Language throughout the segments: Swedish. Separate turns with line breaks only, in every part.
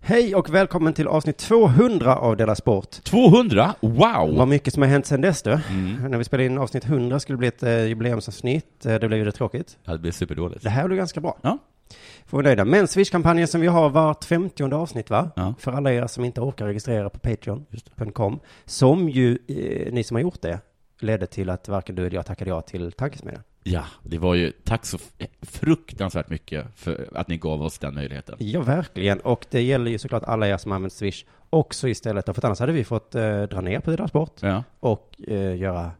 Hej och välkommen till avsnitt 200 av Della Sport.
200?
Vad
Wow!
mycket som har hänt sedan dess du.
Mm.
När vi spelade in avsnitt 100 skulle det bli ett eh, jubileumsavsnitt. Eh, Det blev ju rätt tråkigt.
Ja, Det blir superdåligt.
Det här blev ganska bra.
Ja.
Får vi nöjda. Men Swish-kampanjen som vi har vart 50 avsnitt va?
Ja.
För alla er som inte orkar registrera på Patreon.com. Som ju eh, ni som har gjort det ledde till att varken du eller jag tackade ja till tankesmedjan.
ja, det var ju, tack så f- fruktansvärt mycket för att ni gav oss den möjligheten.
Ja, verkligen. Och det gäller ju såklart alla er som använt Swish också istället. För att annars hade vi fått eh, dra ner på Della Sport
Ja.
och eh, göra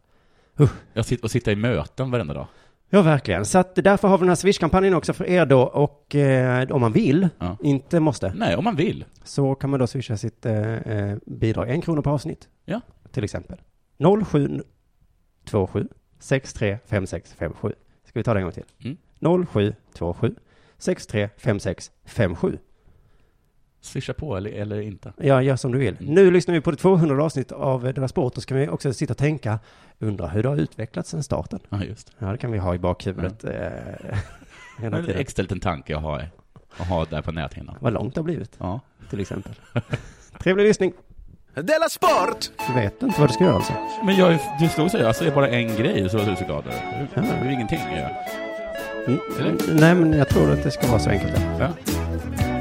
Jag sitter och sitta i möten varenda dag.
Ja, verkligen. Så att därför har vi den här Swish-kampanjen också för er då. Och eh, om man vill,
Ja.
inte måste,
Nej, om man vill.
så kan man då swisha sitt eh, eh, bidrag. En krona per avsnitt.
Ja.
Till exempel. 0727 635657. Ska vi ta det en gång till?
Mm.
0727 635657.
Swisha på eller, eller inte.
Ja, gör som du vill.
Mm.
Nu lyssnar vi på det 200 avsnitt av eh, Della Sport och så kan vi också sitta och tänka, undra hur det har utvecklats sedan starten.
Ja, just det.
Ja, det kan vi ha i bakhuvudet.
Mm.
Eh,
Det
hela
är en
tiden.
extra liten tanke att ha, att ha där på näthinnan.
Vad långt det har blivit,
Ja.
till exempel. Trevlig lyssning.
Della Sport!
Du vet inte vad du ska göra alltså.
Men jag, är- du stod och sa, jag säger bara en grej så var du så glad över. Det är ju ingenting. Ja.
Mm.
Eller?
Nej, men jag tror att det ska vara så enkelt.
Ja.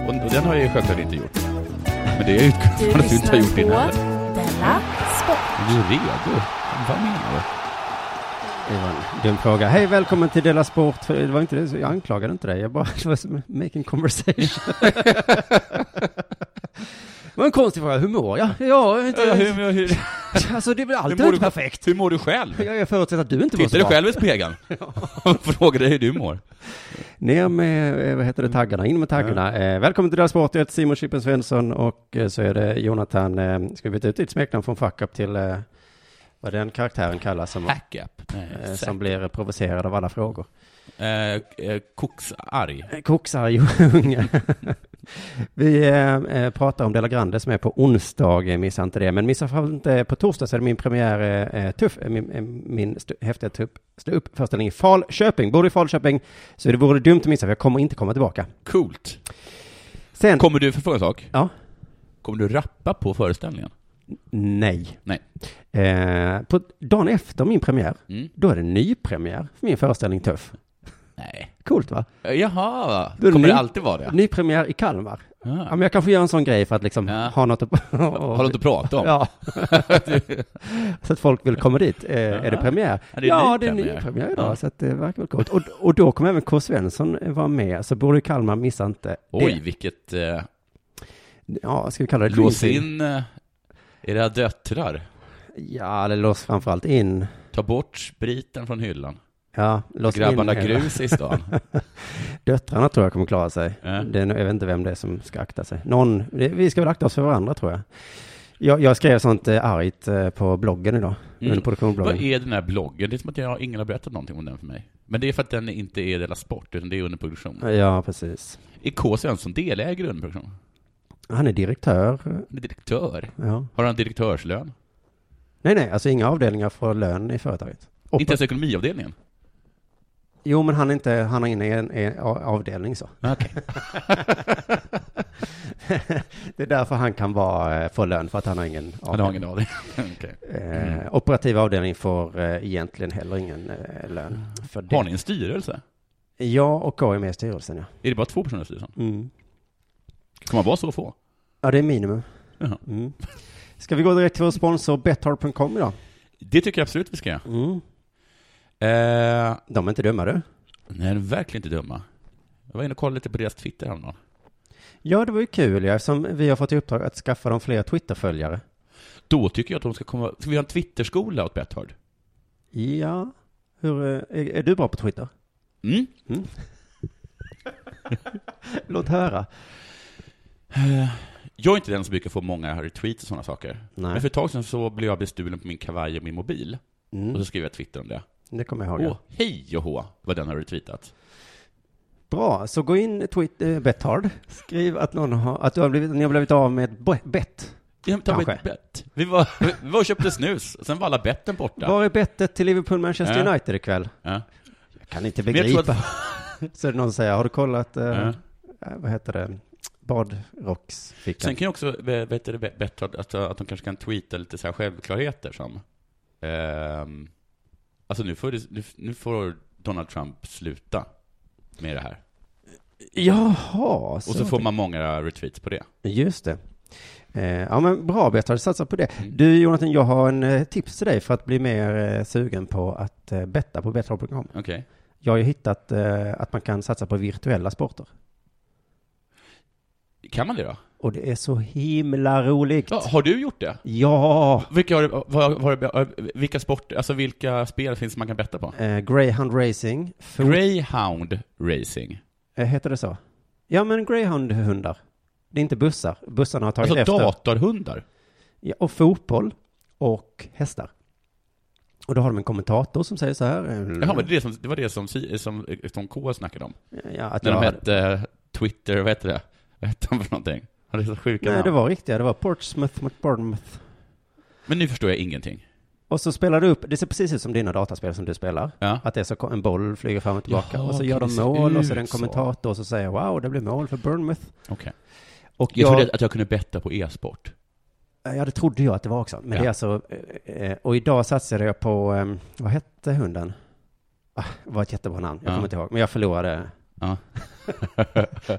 Och, och den har jag ju självklart inte gjort. Men det är ju
Du
att du inte har
lyssnar
gjort
på
din heller.
Della Sport.
Är du redo? Vad menar du?
Det var en dum fråga. Hej, välkommen till Della Sport. För Det var inte det, så jag anklagade inte dig. Jag bara, det var som making conversation. det var en konstig fråga. Hur mår jag? Ja, jag
Ja,
inte,
hur, hur, hur,
alltså det blir alltid
mår
inte
du?
perfekt.
hur mår du själv?
Jag, jag förutsätter att du inte mår
Titta
så
dig
bra.
själv i spegeln och fråga dig hur du mår.
Ner med, eh, vad heter det, taggarna, in med taggarna. Eh, välkommen till Della Sport, jag heter Simon Chippen Svensson och eh, så är det Jonathan, eh, ska vi byta ut ditt smeknamn från fuck up till eh, vad den karaktären kallas som,
Hack-up.
eh, som blir provocerad av alla frågor.
Eh, Koksarg.
Eh, Koksarg och unge. vi eh, eh, pratar om Della Grande som är på onsdag, eh, missa inte det. Men missa framför allt inte eh, på torsdag så är det min premiär, eh, eh, tuff, eh, min, eh, min st- häftiga tuff, stå upp föreställning i Falköping. Bor du i Falköping så det vore dumt att missa för jag kommer inte komma tillbaka.
Coolt.
Sen,
Kommer du, för att fråga en sak,
ja.
kommer du rappa på föreställningen?
Nej.
Nej.
Eh, på dagen efter min premiär,
Mm.
då är det nypremiär för min föreställning Tuff.
Nej.
Coolt va?
Eh, Jaha,
Då är det
kommer det
ny-
alltid vara det?
Nypremiär i Kalmar. Ja,
Ah.
men jag kanske gör en sån grej för att liksom
Ja.
ha något att...
Har du inte pratat om?
Ja. så att folk vill komma dit. Eh, Är det premiär?
Ja, det är
ja,
ny
det är
premiär.
nypremiär idag,
Ja.
så att det verkar väl coolt. Och, och då kommer även K. Svensson vara med, så bor du i Kalmar, missa inte
Oj, vilket... Eh,
det. Ja, ska vi kalla det
lås
dream team?
in eh, era döttrar.
Ja, eller lås framförallt in.
Ta bort spriten från hyllan.
Ja, lås
Grabbarna
in hela-
grus i stan.
Döttrarna tror jag kommer klara sig.
Ja.
Det är, nog- jag vet inte vem det är som ska akta sig. Någon, det, vi ska väl akta oss för varandra tror jag. Jag, jag skrev sånt eh, argt eh, på bloggen idag,
Mm.
under
Vad
produktionsbloggen.
är den här bloggen? Det är som att jag, ingen har berättat någonting om den för mig. Men det är för att den inte är Della Sport, utan det är under produktion.
Ja, precis.
Är K. Svensson delägare i under produktion?
Han är direktör.
Han är direktör.
Ja.
Har han direktörslön?
Nej, nej, alltså inga avdelningar får lön i företaget. Och-
Inte ens ekonomiavdelningen?
Jo, men han är inte, han är inne i en, i en a- avdelning så.
Ah, Okej.
det är därför han kan vara, eh, få lön, för att han har ingen avdelning.
Han har ingen Mm. aning. Okej.
Eh, Operativa avdelningen får eh, egentligen heller ingen eh, lön.
Mm.
För det.
Har ni en styrelse?
Jag och K är med i styrelsen, ja.
Är det bara två personer i styrelsen?
Mm.
Kommer man vara så få?
Ja, det är minimum.
Jaha.
Mm. Ska vi gå direkt till vår sponsor Betthard.com idag?
Det tycker jag absolut vi ska göra.
Mm.
Eh,
De är inte dumma du.
nej, de är verkligen inte dumma. Jag var inne och kollade lite på deras Twitter häromdagen.
Ja, det var ju kul ja, eftersom vi har fått i uppdrag att skaffa dem fler Twitter-följare.
Då tycker jag att de ska komma... Ska vi ha en Twitterskola åt Betthard?
Ja, hur, eh, är, är du bra på Twitter?
Mm.
Låt höra.
Jag är inte den som brukar få många retweets och sådana saker.
Nej.
Men för ett tag sedan så blev jag bestulen på min kavaj och min mobil. Och
Mm,
så skrev jag Twitter om det.
det kommer jag ihåg.
Åh,
ja.
hej och hå vad den har retweetat.
Bra, så gå in Twitter, eh, Betthard. Skriv att, någon har, att du har blivit, ni har blivit av med ett bo- bett.
Jag tar mig
Kanske.
ett bett. Vi var, vi var och köpte snus, sen var alla betten borta.
Var är bettet till Liverpool Manchester
Ja.
United ikväll?
Ja.
Jag kan inte
Men jag tror
begripa. Så är det någon som säger, har du kollat, eh,
Ja.
eh, vad heter det, badrocksfickan.
Sen kan ju också eh, vet du, det, bättre att, att, att de kanske kan tweeta lite så här självklarheter som ehm, Alltså nu får, det, nu, nu får Donald Trump sluta med det här.
Jaha, så,
Och så får man många retweets på det.
Just det. Eh, ja, men bra Bertil, satsa på det.
Mm.
Du Jonathan, jag har en eh, tips till dig för att bli mer eh, sugen på att eh, betta på betthard.com.
Okej.
Jag har ju hittat eh, att man kan satsa på virtuella sporter.
Kan man det då?
Och det är så himla roligt.
Ja, har du gjort det?
Ja!
Vilka, har, du- vad, vad, har du- vilka sporter, alltså vilka spel finns det man kan betta på?
Eh, Greyhound Racing. Fo-
Greyhound Racing.
eh, heter det så? Ja, men Greyhound-hundar. Det är inte bussar. Bussarna har tagit
Alltså
efter. Mm.
datorhundar.
Ja, och fotboll och hästar. Och då har de en kommentator som säger så här. eh,
Jaha, men det, är det som, det var det som, Si- som, som K snackade om.
ja, att
När
jag
de
hade-
hette eh, Twitter, vad hette det? Vad hette de för någonting? Ja, det är så sjuka
Nej,
namn.
det var riktiga. Det var Portsmouth mot Bournemouth.
Men nu förstår jag ingenting.
Och så spelar du upp, det ser precis ut som dina dataspel som du spelar.
Ja.
Att det är så ko- en boll flyger fram och tillbaka.
Jaha,
och så
okej,
gör
det
de
ser
mål och så är
ut
det en
så.
kommentator som säger wow, det blev mål för Bournemouth.
Okej.
Och
Jag
jag,
trodde att jag kunde betta på e-sport.
ja, det trodde jag att det var också. Men
Ja.
det är alltså, eh, eh, och idag satsade jag på, eh, vad hette hunden? Ah, det var ett jättebra namn, jag
Ja.
kommer inte ihåg. Men jag förlorade.
Ja.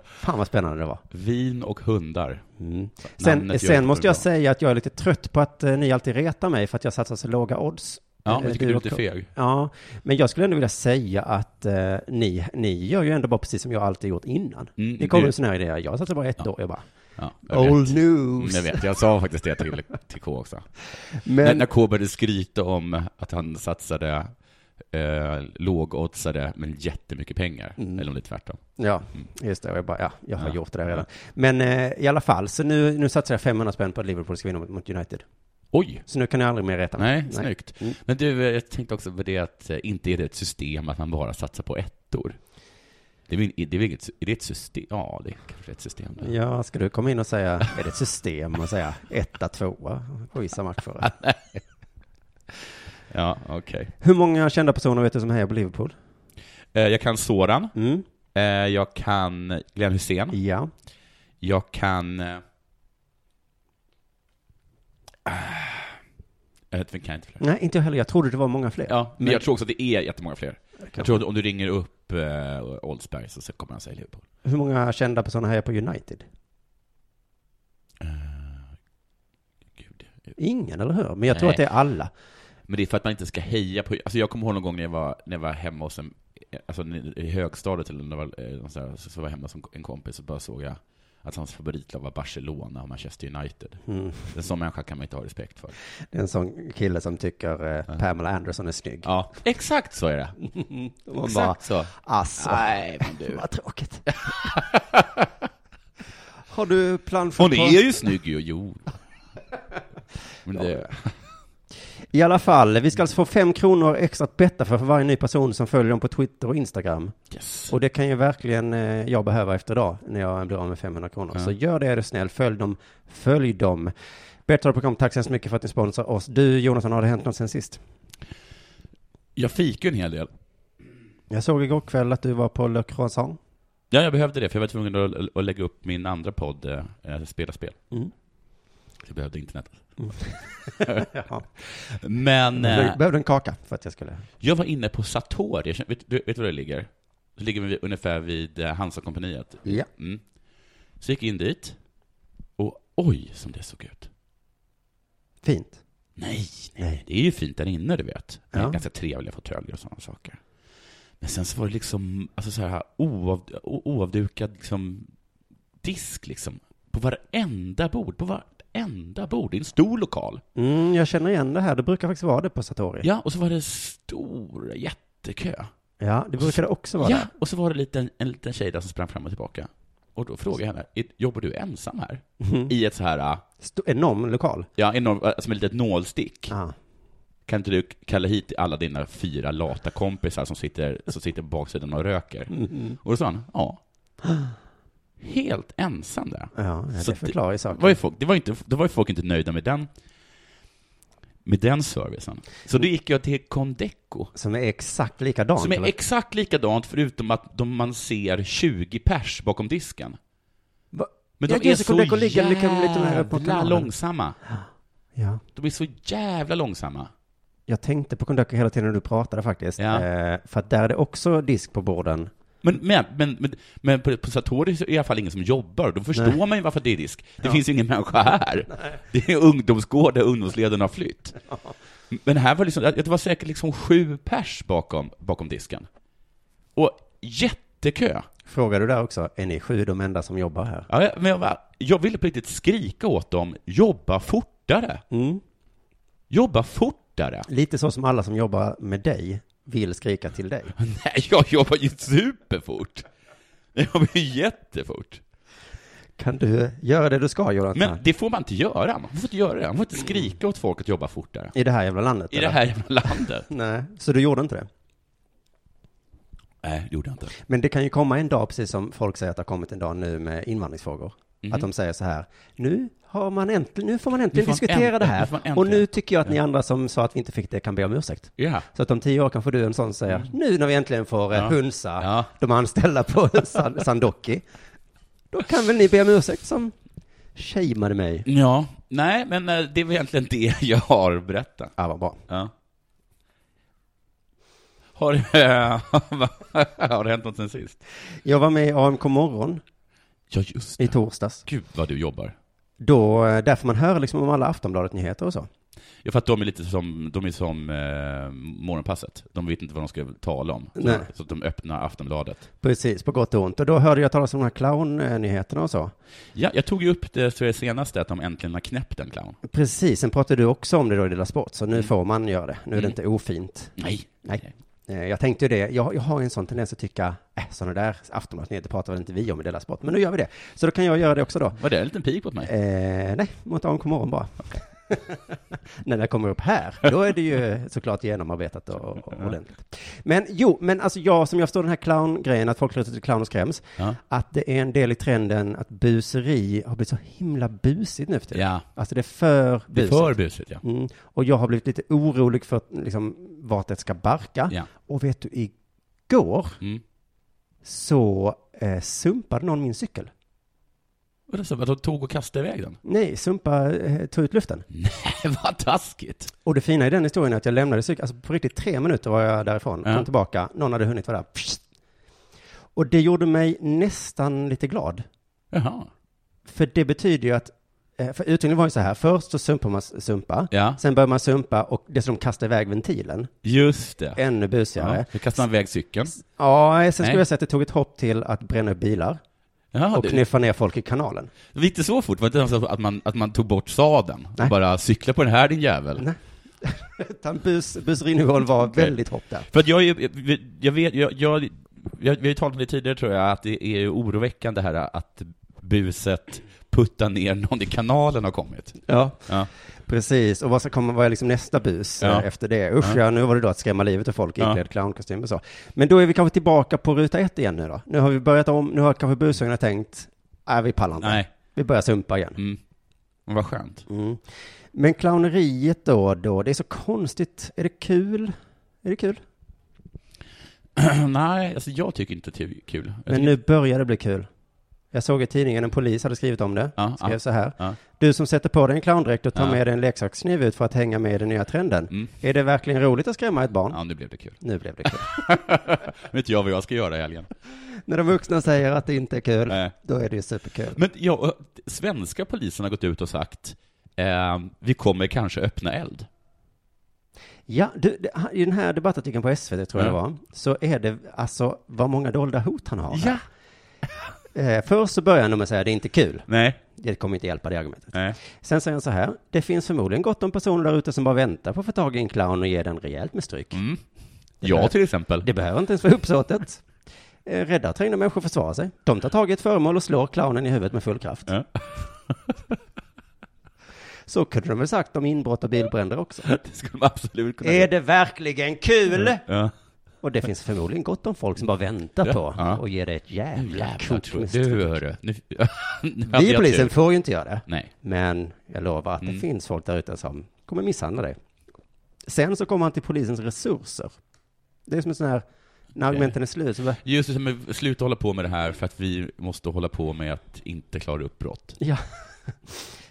Fan vad spännande det var.
Vin och hundar.
Mm.
gör
Sen,
inte
sen
det
måste jag
bra.
säga att jag är lite trött på att eh, ni alltid retar mig för att jag satsar så låga odds.
Ja,
Eh,
jag tycker du är
och
lite
K.
feg.
Ja, men jag skulle ändå vilja säga att eh, ni, ni gör ju ändå bara precis som jag alltid gjort innan.
Mm,
Ni kommer Oh.
det-
med sådana här idéer. Jag satsar bara ett
Ja.
år. Jag bara,
Ja, jag vet.
old
Mm,
news.
Jag vet, jag sa faktiskt det till, till K också. När,
Men,
när K började skryta om att han satsade eh, lågoddsade, men jättemycket pengar.
Mm.
Eller om det är tvärtom.
ja, just det. Och jag bara, ja, jag har
Mm. Ja.
gjort det där redan. Men eh, i alla fall, så nu, nu satsar jag 500 spänn på att Liverpool ska vinna mot, mot United.
Oj!
Så nu kan ni aldrig mer reta mig.
Nej, snyggt.
Mm.
Men du, eh, jag tänkte också på det att eh, inte är det ett system att man bara satsar på ettor. Det är, väl- det är väl inget, är det ett system? Ja, det är kanske ett system. Där.
Ja, ska du komma in och säga, är det ett system och säga etta, tvåa på vissa matcher?
Ja, okej.
Hur många kända personer vet du som hejar på Liverpool?
Eh, Jag kan Soran.
Mm.
Eh, Jag kan Glenn Hussein.
Ja.
Jag kan... eh, ah, Jag vet inte, kan jag inte fler.
Nej, inte jag heller. Jag trodde det var många fler.
Ja, men
Men-
jag tror också att det är jättemånga fler. Jag tror att om du ringer upp eh, Oldsberg så, så kommer han säga Liverpool.
Hur många kända personer hejar på United?
Eh, Gud.
Ingen, eller hur? Men jag tror
Nej.
att det är alla.
Men det är för att man inte ska heja på... Alltså jag kommer ihåg någon gång när jag var, när jag var hemma hos en... Alltså i högstadiet eller när jag var, eh, så, här, så så var jag hemma hos en- en kompis och bara såg jag att hans favoritlag var Barcelona och Manchester United.
Mm.
En sån människa kan man inte ha respekt för.
Det är en sån kille som tycker eh, Pamela Anderson är snygg.
Ja, exakt så är det.
Och man bara,
Exakt så.
alltså,
Nej, men du.
vad tråkigt. Har du plan för...
Hon är ju snygg ju, jo. Men det,
I alla fall, vi ska alltså få fem kronor extra att betta för, för varje ny person som följer dem på Twitter och Instagram.
yes.
Och det kan ju verkligen eh, jag behöva efter idag när jag blir av med 500 kronor. Så gör det är du snäll, följ dem, följ dem. Betthard.com, tack så hemskt mycket för att ni sponsrar oss. Du Jonathan, har det hänt något sen sist?
Jag fikar ju en hel del.
Jag såg igår kväll att du var på Le Croissant.
Ja, jag behövde det, för jag var tvungen att, att lägga upp min andra podd, eh, Spela spel.
Mm.
Så jag behövde internet.
Jaha.
Men eh,
Jag behövde en kaka för att jag skulle...
jag var inne på Satori, Jag känner- vet du vet du var det ligger? Det ligger vid, ungefär vid eh, Hansa-kompaniet.
Ja.
Mm. Så jag gick in dit, och oj som det såg ut.
Fint.
Nej, nej, det är ju fint där inne, du vet. Det är
Ja.
ganska trevliga fåtöljer och sådana saker. Men sen så var det liksom, alltså så här oav, o- oavdukad liksom, disk liksom. På varenda bord, på varenda bord. Det är en stor lokal.
Mm, jag känner igen det här. Det brukar faktiskt vara det på Satori.
Ja, och så var det stor jättekö.
Ja, det brukar det också vara.
Ja,
där.
och så var det lite, en liten tjej där som sprang fram och tillbaka. Och då frågade jag henne, "Är- jobbar du ensam här? I ett så här,
Sto- Mm. enorm lokal. Ah.
ja, enormt, som ett litet nålstick.
Ja.
Kan inte du kalla hit alla dina fyra lata kompisar som sitter, som sitter på baksidan och röker? Och då sa han, ja. Helt ensam där.
Ja, ja,
Så
det
det-
förklarar ju
Det var
saken.
ju folk, det var inte, det var ju folk inte nöjda med den, med den servicen. Så då gick jag till Condeco,
Som är exakt likadant.
som är
eller?
exakt likadant förutom att de, man ser 20 pers bakom disken.
Va?
Men Men
Ja,
de är
just det,
så
Quebec och ligger liksom lite mer uppåt i
jävla
landet.
långsamma.
Ja.
De är så jävla långsamma.
Jag tänkte på Kondoku hela tiden när du pratade faktiskt.
Ja.
Eh, för att där är det också disk på borden.
Men, men, men, men, men på, på Satori så är det i alla fall ingen som jobbar. Då förstår man ju varför det är risk. Det finns ju ingen människa här. Det är ungdomsgård där ungdomsledaren har flytt. Men här var liksom, det var säkert liksom sju pers bakom, bakom disken. Och jättekö.
Frågar du där också, är ni sju de enda som jobbar här?
Ja, men jag, bara, jag ville på riktigt skrika åt dem, jobba fortare.
Mm.
Jobba fortare.
Lite så som alla som jobbar med dig vill skrika till dig.
Nej, jag jobbar ju superfort. Jag jobbar ju jättefort.
Kan du göra det du ska, Jonathan?
Men det får man inte göra. Man får inte göra det. Man får inte skrika åt folk att jobba fortare.
I det här jävla landet?
I det
eller?
här jävla landet.
Nej, så du gjorde inte det?
Nej, det gjorde jag inte.
Men det kan ju komma en dag, precis som folk säger att det har kommit en dag nu med invandringsfrågor. Att de säger så här, nu, har man äntligen, nu får man äntligen
Mhm. Nu får man
diskutera
änt-
det
nu får man
här.
äntligen.
Och nu tycker jag att ni andra som sa att vi inte fick det kan be om ursäkt.
Ja.
Så att om tio år kanske du en sån säger, nu när vi äntligen får eh,
Mm. Ja.
hunsa
Ja.
de anställda på San- Sandocki, då kan väl ni be om ursäkt som shameade mig.
Ja. Nej, men eh, det är väl egentligen det jag har berättat.
Ja, vad bra.
Ja. Har, eh, har det hänt något sen sist?
Jag var med i AMK morgon
Ja, just
i
det.
torsdags.
Gud vad du jobbar.
Då, eh, där får man höra liksom om alla Aftonbladet-nyheter och så.
Ja, för att de är lite som, de är som eh, morgonpasset. De vet inte vad de ska tala om. Så,
Nej.
så att de öppnar Aftonbladet.
Precis, på gott och ont. Och då hörde jag talas om de här clownnyheterna och så.
Ja, jag tog ju upp det för det senaste, att de äntligen har knäppt en clown.
Precis, sen pratade du också om det då i Lilla Sport, så nu får man göra det. Nu är det inte ofint.
Mm. Nej.
Nej. Eh, Jag tänkte ju det, jag, jag har ju en sån tendens att tycka, äh, sådana där Aftonbladet-nyheter pratar väl inte vi om i Della Sport, men nu gör vi det. Så då kan jag göra det också då.
Var det en liten pik åt mig?
Eh, nej, mot AMK morgon bara. När det kommer upp här, då är det ju såklart genomarbetat och, och ordentligt. Men jo, men alltså jag, som jag förstår den här clowngrejen, att folk klär ut sig till clown och skräms,
Ja.
att det är en del i trenden att buseri har blivit så himla busigt nu för tiden.
Ja.
Alltså det är för
Det är
busigt.
för busigt, ja.
Mm. Och jag har blivit lite orolig för liksom, vart det ska barka.
Ja.
Och vet du, igår
Mm.
så eh, sumpade någon min cykel.
Vadå, så, vadå, tog och kastade iväg den?
Nej, sumpa, eh, tog ut luften.
Nej, vad taskigt!
Och det fina i den historien är att jag lämnade cykeln, alltså på riktigt tre minuter var jag därifrån,
Ja.
kom tillbaka, någon hade hunnit vara där. Psst. Och det gjorde mig nästan lite glad.
Jaha.
För det betyder ju att, eh, för utvecklingen var ju så här, först så sumpar man s- sumpa,
Ja.
sen börjar man sumpa och dessutom kasta iväg ventilen,
Just det.
ännu busigare.
Ja. Då kastade han iväg cykeln.
Ja, sen skulle
Nej.
jag säga att det tog ett hopp till att bränna upp bilar
Jaha,
och
det-
knuffa ner folk i kanalen.
det var inte så fort, det var inte ens så att man, att man tog bort sadeln.
Nej.
Bara cykla på den här din jävel.
Nej. Utan bus, busrinivån var
Okej.
väldigt hopp där.
För att jag, är- jag, jag vet, jag, jag, jag, vi har ju talat om det tidigare tror jag, att det är ju oroväckande här att buset putta ner någon i kanalen har kommit.
Ja.
Ja.
Precis, och vad ska komma, vad är liksom nästa bus
Ja.
eh, efter det? Usch, ja. nu var det då att skrämma livet av folk i
Ja.
iklädd clownkostym och så. Men då är vi kanske tillbaka på ruta ett igen nu då. Nu har vi börjat om, nu har kanske busungarna tänkt, nej vi pallar inte.
Nej,
Vi börjar sumpa igen.
mm. Men vad skönt.
Mm. Men clowneriet då, då, det är så konstigt. Är det kul? Är det kul?
Nej, alltså jag tycker inte att det är kul. Jag
Men
tycker-
nu börjar det bli kul. Jag såg i tidningen, en polis hade skrivit om det.
Ja,
skrev
ja,
så här.
ja.
Du som sätter på dig en clowndräkt och tar
Ja.
med dig en leksakskniv ut för att hänga med i den nya trenden.
Mm.
Är det verkligen roligt att skrämma ett barn?
Ja, nu blev det kul.
Nu blev det kul.
Vet jag vad jag ska göra i helgen?
När de vuxna säger att det inte är kul,
Nej.
då är det ju superkul.
Men ja, svenska polisen har gått ut och sagt eh, vi kommer kanske öppna eld.
Ja, du, det- han- i den här debattartikeln på SVT, tror jag det var, så är det alltså vad många dolda hot han har. här. Eh, först så börjar han då med att säga det är inte kul.
Nej.
Det kommer inte hjälpa det argumentet.
Nej.
Sen säger han så här, det finns förmodligen gott om personer där ute som bara väntar på att få tag i en clown och ge den rejält med stryk.
Jag Mm. till exempel.
Det behöver inte ens vara uppsåtet. Eh, Rädda trängda människor försvarar sig. De tar tag i ett föremål och slår clownen i huvudet med full kraft.
Ja.
Så kunde de väl sagt om inbrott och bilbränder också.
Det skulle man absolut kunna
Är det verkligen kul?
Ja.
Och det finns förmodligen gott om folk som bara väntar på
Ja.
och ger dig ett jävla
Jävlar,
kort.
tror
med
du
stryk.
hörru. Nu, nu hade
Vi i
jag Mm.
polisen
tur.
får ju inte göra det.
Nej.
Men jag lovar att det finns folk där ute som kommer misshandla dig. Sen så kommer han till polisens resurser. Det är som en sån här när argumenten är slut så bara,
Just det, men sluta hålla på med det här för att vi måste hålla på med att inte klara upp brott.
Ja.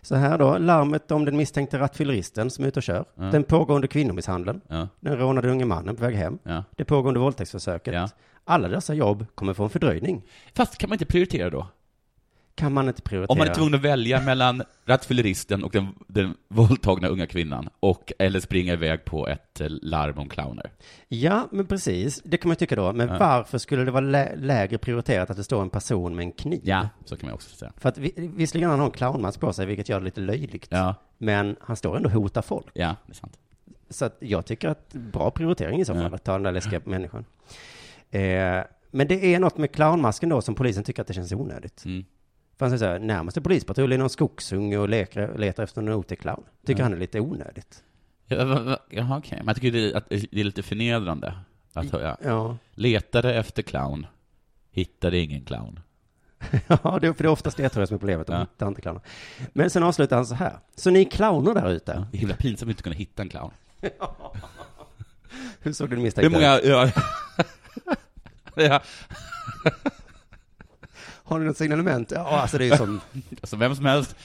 Så här då, larmet om den misstänkte rattfylleristen som är ute och kör,
Ja.
den pågående kvinnomisshandeln,
Ja,
den rånade unge mannen på väg hem,
ja.
det pågående våldtäktsförsöket.
Ja.
Alla dessa jobb kommer få en fördröjning.
Fast kan man inte prioritera då?
Kan man inte prioritera?
Om man är tvungen att välja mellan rattfylleristen och den, den våldtagna unga kvinnan, och, eller springa iväg på ett eh, larm om clowner.
Ja, men precis. Det kan man tycka då. Men
Ja.
varför skulle det vara lä- lägre prioriterat att det står en person med en kniv?
Ja, så kan man också säga.
För att vi, visserligen har han en clownmask på sig, vilket gör det lite löjligt.
Ja,
Men han står ändå och hotar folk.
ja, det är sant.
Så att jag tycker att bra prioritering i så fall,
Ja.
att ta den där läskiga människan. Eh, men det är något med clownmasken då som polisen tycker att det känns onödigt.
Mm.
För han säger så här, närmaste polispatrull är någon skogsunge och leker, letar efter en otäck clown. Tycker
Ja.
han är lite onödigt.
Ja, va- va- Jaha, okej. Men jag tycker det är, att eh, det är lite förnedrande. Att, ja.
Ja,
Letade efter clown, hittade ingen clown.
ja det, för det är oftast det tror jag som är problemet, de
Ja.
hittar inte clowner. Men sen avslutar han så här, så ni är clowner där ute.
Det är himla pinsamt att inte kunna hitta en clown.
Hur såg du
Hur
misstänkt ut?
många... Ja, ja.
Har ni något signalement? Ja, alltså det är ju som,
Alltså vem som helst.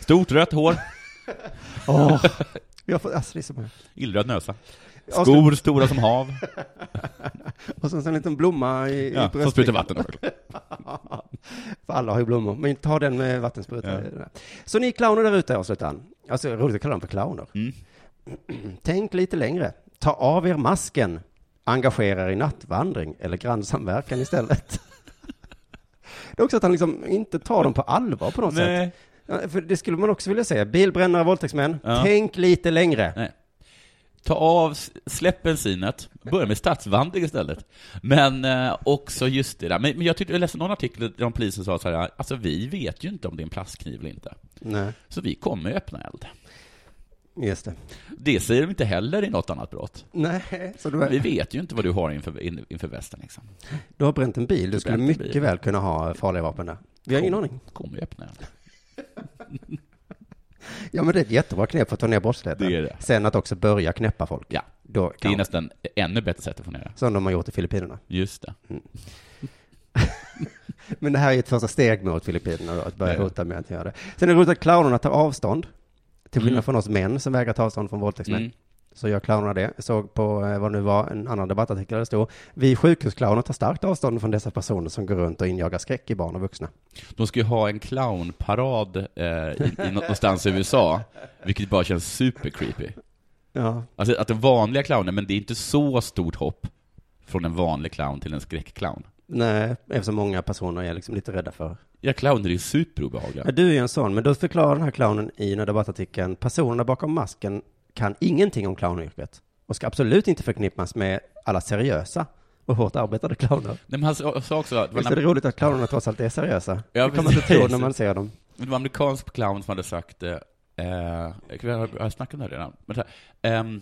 Stort rött hår,
åh, vi har fått, alltså det är som,
illröd näsa.
Ja,
Skor stora som hav.
och sen så en liten blomma i, i
Ja, som
bröstet.
sprutar vatten.
För alla har ju blommor, men ta den med vattenspruta. Så ni clowner där ute, avslutar han. Alltså, roligt att kalla dem för clowner.
Mm.
Tänk lite längre. Ta av er masken. Engagera er i nattvandring eller grannsamverkan istället. Det är också att han liksom inte tar dem på allvar på något sätt.
Nej.
Ja, För det skulle man också vilja säga. Bilbrännare, våldtäktsmän.
Ja.
Tänk lite längre.
Nej. Ta av, släpp bensinet, börja med stadsvandring istället. Men eh, också just det där, men, men jag, tyckte, jag läste någon artikel där polisen sa så här, alltså vi vet ju inte om det är en plastkniv eller inte,
Nej,
så vi kommer öppna eld.
just det.
Det säger de inte heller i något annat brott.
Nej, så du,
Vi vet ju inte vad du har inför, in, inför västen liksom.
du har bränt en bil. Du skulle
bränt en
mycket
bil.
väl kunna ha farliga vapen där. Vi har ingen aning.
Kommer öppna eld.
Ja, men det är ett jättebra knep för att ta ner brottsligheten.
Det är det.
Sen att också börja knäppa folk.
Ja,
Då
det
kan
är nästan ännu bättre sätt att få ner det.
Som de har gjort i Filippinerna.
Just det.
Men det här är ett första steg mot Filippinerna då, att börja
Ja, ja.
hota med att göra det. Sen är det roligt att clownerna tar avstånd. Till skillnad
Mm.
från oss män som vägrar ta avstånd från våldtäktsmän.
Mm.
Så gör clownerna det. Jag såg på eh, vad det nu var, en annan debattartikel där det stod. Vi sjukhusclowner tar starkt avstånd från dessa personer som går runt och injagar skräck i barn och vuxna.
De ska ju ha en clownparad eh, i, i nå- någonstans i USA, vilket bara känns super creepy.
Ja,
Alltså att den vanliga clownen, men det är inte så stort hopp från en vanlig clown till en skräckclown.
nej, eftersom många personer är liksom lite rädda för.
Ja, clowner är ju
Ja,
superobehagliga.
du är ju en sån, men då förklarar den här clownen i den här debattartikeln. Personerna bakom masken kan ingenting om clownyrket och ska absolut inte förknippas med alla seriösa och hårt arbetade clowner.
Nej, men han sa sa också att det var
Visst är det
en,
roligt att clownerna trots allt är seriösa?
Ja,
det kan man inte tro
precis.
när man ser dem.
det var en amerikansk clown som hade sagt, eh, eh, jag har jag snackat om det här redan, men så här, ehm,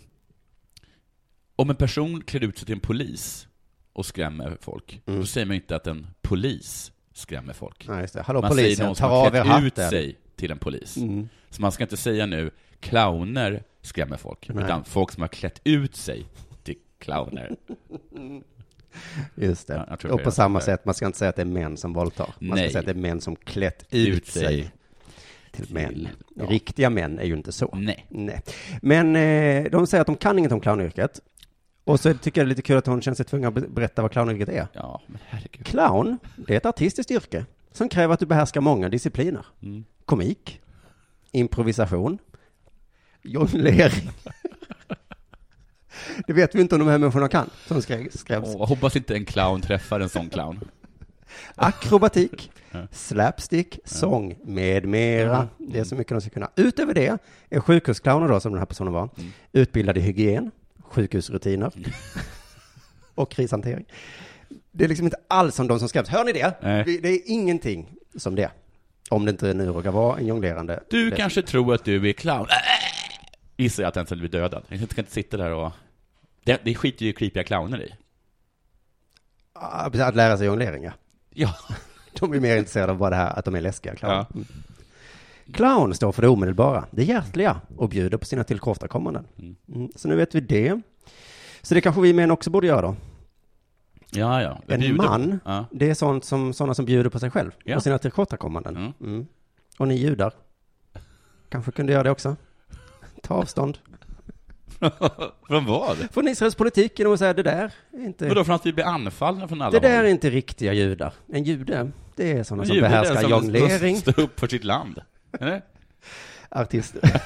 om en person klär ut sig till en polis och skrämmer folk,
Mm.
då säger man ju inte att en polis skrämmer folk.
Nej, just det. Hallå
man säger
polisen,
någon som
ta
har
av er
klätt ut
hatten.
sig till en polis.
Mm.
Så man ska inte säga nu, clowner skrämmer folk,
Nej.
utan folk som har klätt ut sig till clowner.
Just det.
Ja, jag tror
och
det
på
är
samma
det.
sätt, man ska inte säga att det är män som våldtar. Man ska
Nej.
säga att det är män som klätt ut, sig till män.
Ja.
Riktiga män är ju inte så.
Nej.
Nej. Men eh, de säger att de kan inget om clownyrket. Och så tycker jag det är lite kul att hon känner sig tvungen att be- berätta vad clownyrket är.
Ja, men herregud.
Clown, det är ett artistiskt yrke som kräver att du behärskar många discipliner.
Mm.
Komik, improvisation, jonglering. Det vet vi inte om de här människorna kan, som skrev- skrevs.
Åh, hoppas inte en clown träffar en sån clown.
Akrobatik, slapstick, sång med mera. Det är så mycket de ska kunna. Utöver det är sjukhusclowner då, som den här personen var,
Mm.
utbildad i hygien, sjukhusrutiner och krishantering. Det är liksom inte alls som de som skräms. Hör ni det?
Nej.
Vi- Det är ingenting som det. Om det inte nu råkar vara en jonglerande.
Du
det.
kanske tror att du är clown. Äh! Gissar jag att den sen blir dödad. Jag ska inte sitta där och... Det, det skiter ju creepiga clowner i.
Ah, precis, Att lära sig jonglering, ja.
Ja.
De är mer intresserade av bara det här att de är läskiga clowner.
Ja.
Mm. Clown står för det Mm, omedelbara, det hjärtliga och bjuder på sina tillkortakommanden. Mm. Så nu vet vi det. Så det kanske vi män också borde göra då.
Ja, ja. Jag
En
bjuder på-
man?
Ja.
Det är sånt som, sådana som bjuder på sig själv
Ja.
och sina tillkortakommanden.
Mm.
Mm. Och ni judar? Kanske kunde göra det också? Ta avstånd
Från vad?
från Israels politik genom att säga det där är inte,
Vadå, från att vi blir anfallna från alla
det där är
håll?
inte riktiga judar. En jude, det är sådana som
Judar är den
behärskar
som
jonglering,
står- står upp för sitt land. Eller?
artister.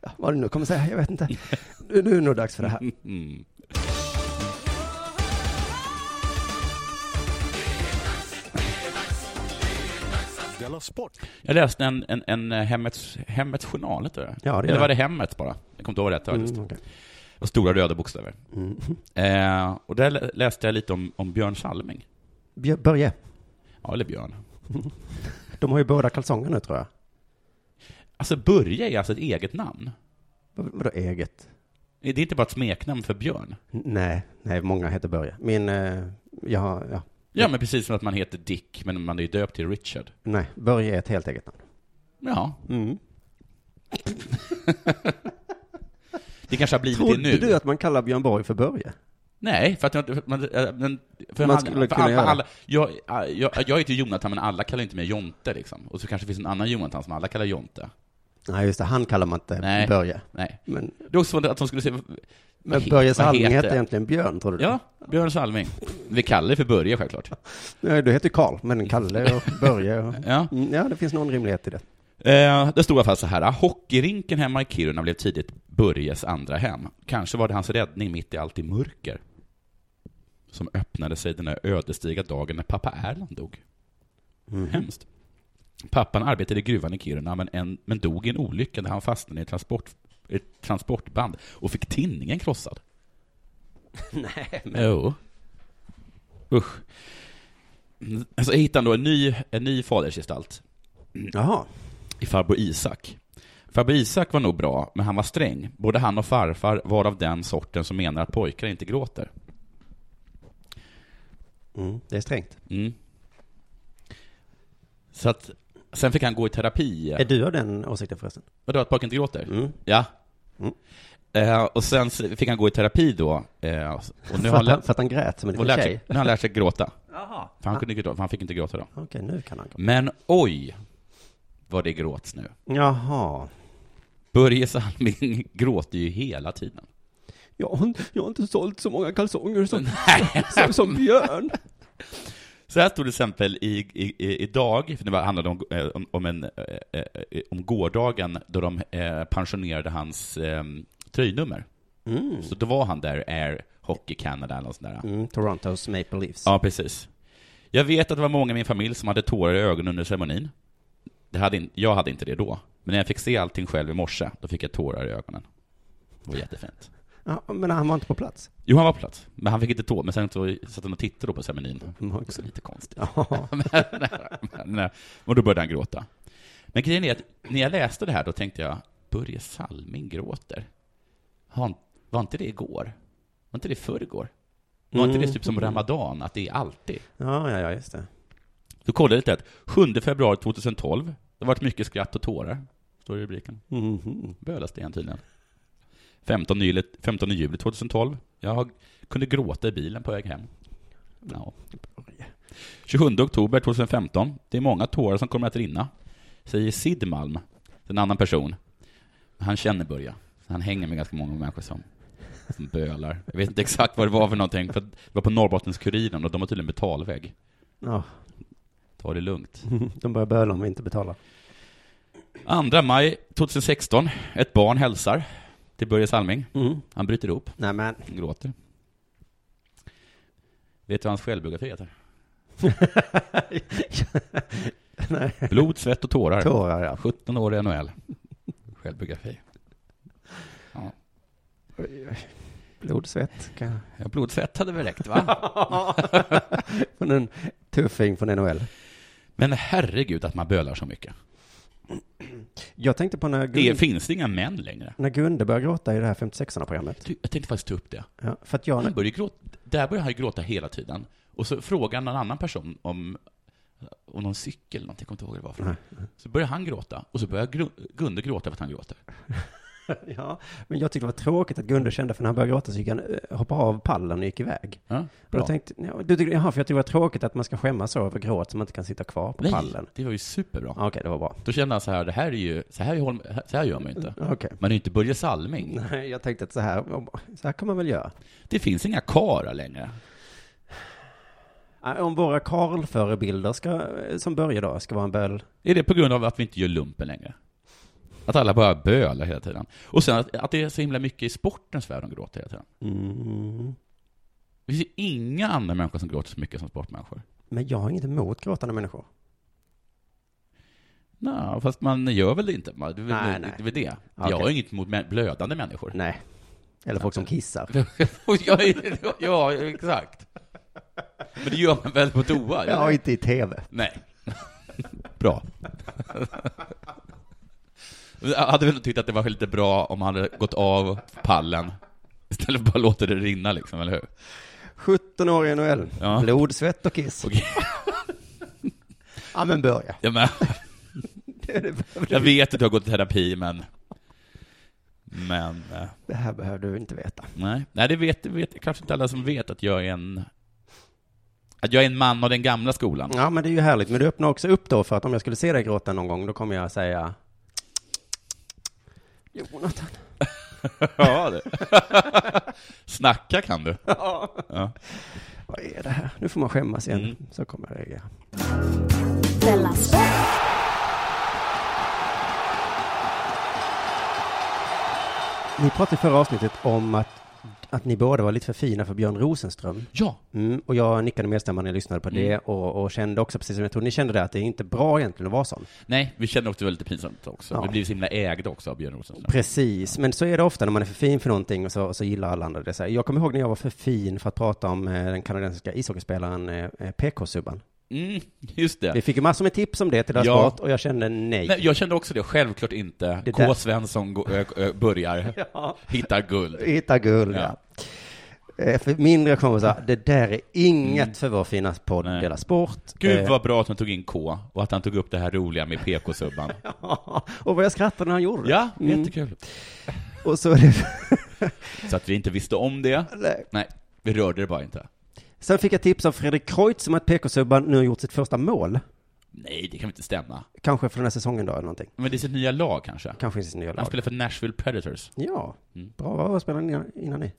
ja, vad du nu kommer säga, jag vet inte. Nu, nu är det nog dags för det här.
Mm.
Della Sport!
Jag läste en, en, en eh, hemmets, hemmets journal, heter det.
Ja, det
Eller
gör
var det Hemmet bara? Jag kommer inte ihåg rätt faktiskt.
Mm, okej.
Det var stora röda bokstäver.
Mm.
Eh, och där lä- läste jag lite om, om Björn Salming.
Björ- Börje,
Ja, eller Björn.
de har ju båda kalsonger nu tror jag.
Alltså Börje är alltså ett eget namn.
Vad- Vadå eget?
Det är inte bara ett smeknamn för Björn.
N- Nej, nej, många heter Börje. Min, eh, ja, ja,
Ja, men precis som att man heter Dick, men man är ju döpt till Richard.
nej, Börje är ett helt eget namn.
Ja,
Mm.
det kanske har blivit
Trodde
det nu.
du att man kallar Björn Borg för Börje?
Nej, för att jag- för- man,
Man
äh, men- för man
skulle
skulle för
kunna
alla,
göra
alla, jag, äh, jag, jag heter Jonathan, men alla kallar inte mig Jonte liksom. Och så kanske det finns en annan Jonathan som alla kallar Jonte.
Nej, just det, han kallar man inte
Nej.
Börje.
Nej.
Men,
Det är också som att de skulle säga...
men
he-
Börje
vad
Salming heter egentligen Björn, tror du?
Ja, Björn Salming. Vi kallar det för Börje självklart.
Nej, du heter Karl, men Kalle och Börje och...
Ja.
Mm, Ja, det finns någon rimlighet i det.
Eh, det stod i alla fall så här. Hockeyrinken hemma i Kiruna blev tidigt Börjes andra hem. Kanske var det hans räddning mitt i allt i mörker. Som öppnade sig den här ödesdigra dagen när pappa Erland dog.
Mm.
Hemskt. Pappan arbetade i gruvan i Kiruna men, en, men dog i en olycka när han fastnade i ett, transport, ett transportband och fick tinningen krossad. Nej men... Jo. Usch. Mm, Så hittade han då en ny, en ny fadersgestalt
Jaha.
i farbror Isak. Farbror Isak var nog bra, men han var sträng. Både han och farfar var av den sorten som menar att pojkar inte gråter.
Mm, det är strängt.
Mm. Så att, sen fick han gå i terapi.
Är du av den åsikten förresten?
Vadå, att pojkar inte gråter?
Mm.
Ja.
Mm.
Eh, och sen så fick han gå i terapi då. Eh, och nu
För
har han
att,
lä-
han, för att han grät som en
och
liten
lärt
tjej?
sig, nu har han lärt sig gråta. För han, kunde inte gråta, för han fick inte gråta då.
Okej, nu kan han gråta.
Men oj, vad det gråts nu.
Jaha.
Börje Salming gråter ju hela tiden.
Jag har, inte- jag har inte sålt så många kalsonger som, som, som Björn.
Så här stod det till exempel i, i, i, idag, för det var- handlade om, eh, om, om, en, eh, eh, eh, om gårdagen då de eh, pensionerade hans eh, tröjnummer.
Mm.
Så då var han där, Air Hockey Canada eller något sånt där.
Mm, Torontos Maple Leafs.
Ja, precis. Jag vet att det var många i min familj som hade tårar i ögonen under ceremonin. Det hade in, jag hade inte det då. Men när jag fick se allting själv i morse, då fick jag tårar i ögonen. Det var jättefint.
Ja, men han var inte på plats.
Jo, han var på plats, men han fick inte tå, men sen så satt han och tittade då på ceremonin.
Mm,
Också lite konstigt.
Ja.
Men, eh, och då började han gråta. Men grejen är att när jag läste det här då tänkte jag, Börje Salming gråter. Har han- Var inte det igår? Var inte det förrgår? Var inte
Mm.
det typ som Ramadan, att det är alltid?
Ja, ja, ja, just det.
Då kollade jag lite att 7 februari 2012, det har varit mycket skratt och tårar. Står det i rubriken.
Mhm.
Bölasten tydligen. 15 juli, 15 juli 2012. Jag kunde gråta i bilen på väg hem. Ja. 27 oktober 2015. Det är många tårar som kommer att rinna. Säger Sid Malm, en annan person. Han känner Börja. Han hänger med ganska många människor som, som bölar. Jag vet inte exakt vad det var för någonting. För det var på Norrbottens-Kuriren och de har tydligen betalvägg.
Ja,
Ta det lugnt.
de börjar böla om vi inte betalar.
2 maj 2016. Ett barn hälsar till Börje Salming. Han bryter ihop.
Nej, men.
Han gråter. Vet du vad hans självbiografi heter? Blod, svett och tårar.
Tårar, ja.
17 år i NHL. Självbiografi. Ja.
Blod, svett. kan-
Ja, blod, svett hade väl räckt, va?
Från en tuffing från NHL.
Men herregud att man bölar så mycket.
Jag tänkte på när,
Det
Gun-
finns inga män längre.
när Gunde började gråta i det här 56-programmet.
Du, Jag tänkte faktiskt ta upp det.
Ja, för att jag...
Han började gråta, där började han ju gråta hela tiden. Och så frågade han en annan person om, om någon cykel, eller någonting, jag kommer inte ihåg vad det var för
Nej.
Så började han gråta, och så började Gru- Gunde gråta för att han gråter.
ja, men jag tyckte det var tråkigt att Gunde kände, för när han började gråta så gick han, eh, hoppade av pallen och gick iväg.
Ja,
Och då
bra.
tänkte, ja, du tyckte, jaha, för jag tyckte det var tråkigt att man ska skämmas så över gråt som man inte kan sitta kvar på
Nej,
pallen.
det var ju superbra.
Ja, Okej, det var bra.
Då kände han så här, det här är ju, så här, Holm, så här gör man ju inte.
Okej.
Man är ju inte Börje Salming.
Nej, jag tänkte att så här, så här kan man väl göra.
Det finns inga karar längre.
Ja, Om våra Karl-förebilder ska, eh, som börjar då, ska vara en böl.
Är det på grund av att vi inte gör lumpen längre? Att alla bara bölar hela tiden. Och sen att, att det är så himla mycket i sportens värld de gråter hela tiden.
Mm.
Det finns ju inga andra människor som gråter så mycket som sportmänniskor.
Men jag har inget emot gråtande människor.
Nej, fast man gör väl det inte? Man, det, är väl-
Nej,
det,
nej.
det är väl det.
Okej.
Jag har inget emot mä- blödande människor.
Nej. Eller folk som kissar.
Och jag, är- ja, exakt. Men det gör man väl på toa? eller?
Ja, inte i tv.
Nej. bra. Jag hade väl tyckt att det var lite bra om han hade gått av pallen istället för att bara låta det rinna liksom, eller hur?
17 år i NHL.
Ja.
Blod, svett och kiss.
Okej.
Ja, men börja.
Ja, men,
Det, behöver
jag
du-
vet att du har gått i terapi, men... Men... eh,
det här behöver du inte veta.
Nej, nej det vet, det vet kanske inte alla som vet att jag är en... Att jag är en man av den gamla skolan.
Ja, men det är ju härligt. Men du öppnar också upp då för att om jag skulle se dig gråta någon gång, då kommer jag säga Jonathan.
Ja, det. Snacka kan du. Ja.
Vad är det här? Nu får man skämmas igen.
Mm.
Så kommer jag reagera.
Della Sport!
Ni pratade i förra avsnittet om att, att ni båda var lite för fina för Björn Rosenström.
ja.
Mm, och jag nickade medstämmande när jag lyssnade på det och, och kände också, precis som jag tror ni kände det, att det är inte bra egentligen att vara sån.
Nej, vi känner också att det var lite pinsamt också.
Ja.
Vi blev så himla ägda också av Björn Rosenström.
Precis, men så är det ofta när man är för fin för någonting och så, och så gillar alla andra det. Så här. Jag kommer ihåg när jag var för fin för att prata om eh, den kanadensiska ishockeyspelaren eh, eh, PK-subban.
Mm, just det.
Vi fick ju massor med tips om det till deras
Ja.
sport och jag kände nej.
Nej, jag kände också det, självklart inte.
Det där-
K. Svensson gå- ö- ö- börjar,
Ja.
hittar guld.
Hitta guld, ja.
Ja.
Eh, För min reaktion var så här, det där är inget för vår fina podd,
Mm. Nej.
Dela Sport.
Gud
Eh,
vad bra att han tog in K, och att han tog upp det här roliga med PK-subban.
och vad jag skrattade när han gjorde det.
Ja,
Mm.
jättekul.
Och så är det...
Så att vi inte visste om det.
Nej.
Nej, vi rörde det bara inte.
Sen fick jag tips av Fredrik Kreutz om att PK-subban nu har gjort sitt första mål.
Nej, det kan väl inte stämma.
Kanske för den här säsongen då, eller någonting.
Men det är sitt nya lag kanske?
Kanske i sitt nya
Han
lag.
spelar för Nashville Predators.
Ja,
Mm.
bra. Vad spelade han innan, innan ni?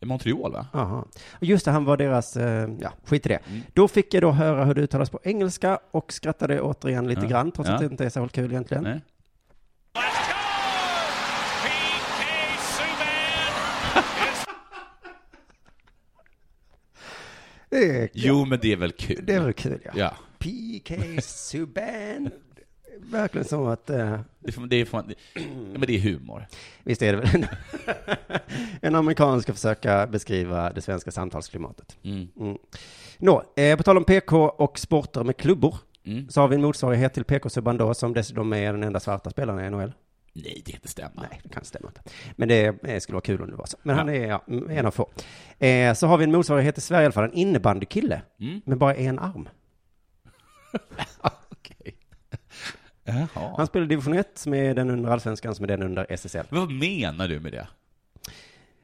I Montreal, va?
Aha. Och Just det, han var deras, eh, ja, skit i det.
Mm.
Då fick jag då höra hur det uttalas på engelska och skrattade återigen lite
Ja.
grann, trots att
Ja.
det inte är särskilt kul egentligen.
Nej.
Det, är-
Jo, men det är väl kul?
det är väl kul, ja.
Ja.
PK Subban. Verkligen som att, eh,
Det får, det får, det, men det är humor.
visst är det väl en, en amerikan ska försöka beskriva det svenska samtalsklimatet.
Mm.
Mm. Nå, eh, på tal om PK och sporter med klubbor,
Mm.
så har vi en motsvarighet till PK-subban då, som dessutom är den enda svarta spelaren i NHL.
Nej, det kan inte stämma.
Nej, det kan stämma inte. Men det eh, skulle vara kul om det var så. Men
Ja.
han är ja, mm, en av få. Eh, så har vi en motsvarighet i Sverige i alla fall, en innebandykille,
Mm.
med bara en arm.
Okej. Jaha.
Han spelar i division 1, som är den under allsvenskan, som är den under SSL.
Vad menar du med det?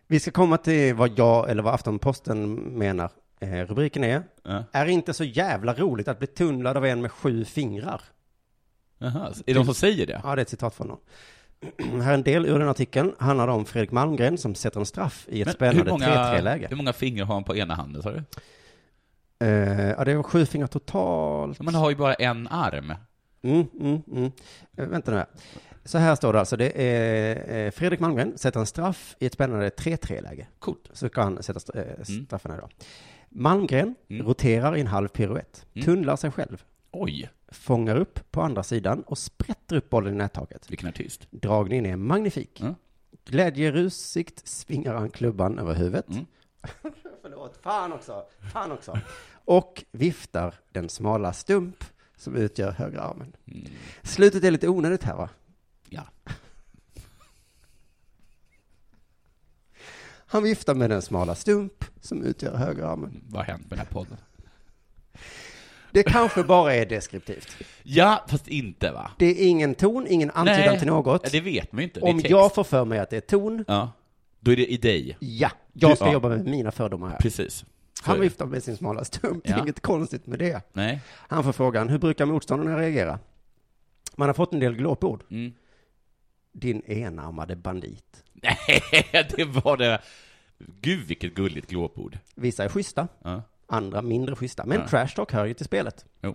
Vi ska komma till vad jag, eller vad Aftonposten menar. Eh, rubriken är
Ja.
Är inte så jävla roligt att bli tunnlad av en med sju fingrar?
Jaha, Är det de som säger det?
Ja, det är ett citat från honom. Här är en del ur den artikeln. Handlar om Fredrik Malmgren som sätter en straff i ett
hur
spännande
många,
3-3-läge.
hur många fingrar har han på ena handen, sa du?
Eh, ja, det var sju fingrar totalt.
Man har ju bara en arm.
Mm, mm, mm. Eh, vänta nu här. Så här står det alltså. Det är, eh, Fredrik Malmgren sätter en straff i ett spännande 3-3-läge.
Coolt.
Så ska han sätta st- eh, straffarna idag. Malmgren roterar i en halv piruett, tunnlar sig själv,
Oj,
fångar upp på andra sidan och sprätter upp bollen i nättaket.
vilken artist.
Dragningen är magnifik.
Mm.
Glädjerusigt svingar han klubban över huvudet.
Mm.
Förlåt, fan också, fan också. Och viftar den smala stump som utgör högra armen.
Mm.
Slutet är lite onödigt här va?
Ja.
Han viftar med den smala stump som utgör högra armen.
Vad har hänt med den här podden?
Det kanske bara är deskriptivt.
Ja, fast inte va?
Det är ingen ton, ingen antydan till
Ja,
något.
det vet man ju inte. Det är
Om
text.
jag får för mig att det är ton,
Ja. Då är det i dig.
ja, jag ska
ja.
jobba med mina fördomar här.
Precis. Så är
Han
det.
viftar med sin smala stump, det är
Ja.
inget konstigt med det.
Nej.
Han får frågan, hur brukar motståndarna reagera? Man har fått en del glåpord.
Mm.
Din enarmade bandit.
Nej, det var det. Gud vilket gulligt glåpord.
Vissa är schyssta,
Ja.
andra mindre schyssta. Men
Ja.
trash talk hör ju till spelet.
Jo.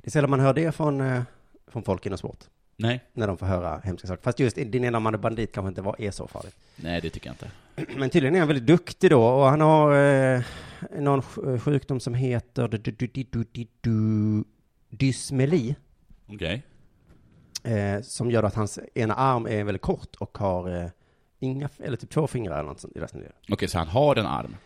Det är sällan man hör det från, eh, från folk inom sport,
Nej.
när de får höra hemska saker. Fast just din enarmade bandit kanske inte var, är så farligt.
Nej, det tycker jag inte.
Men tydligen är han väldigt duktig då och han har eh, någon sj- eh, sjukdom som heter du- du- du- du- du- du- du- dysmeli.
Okej.
Eh, som gör att hans ena arm är väldigt kort och har eh, inga, eller typ två fingrar eller något sånt i resten av det.
Okej, så han har en arm.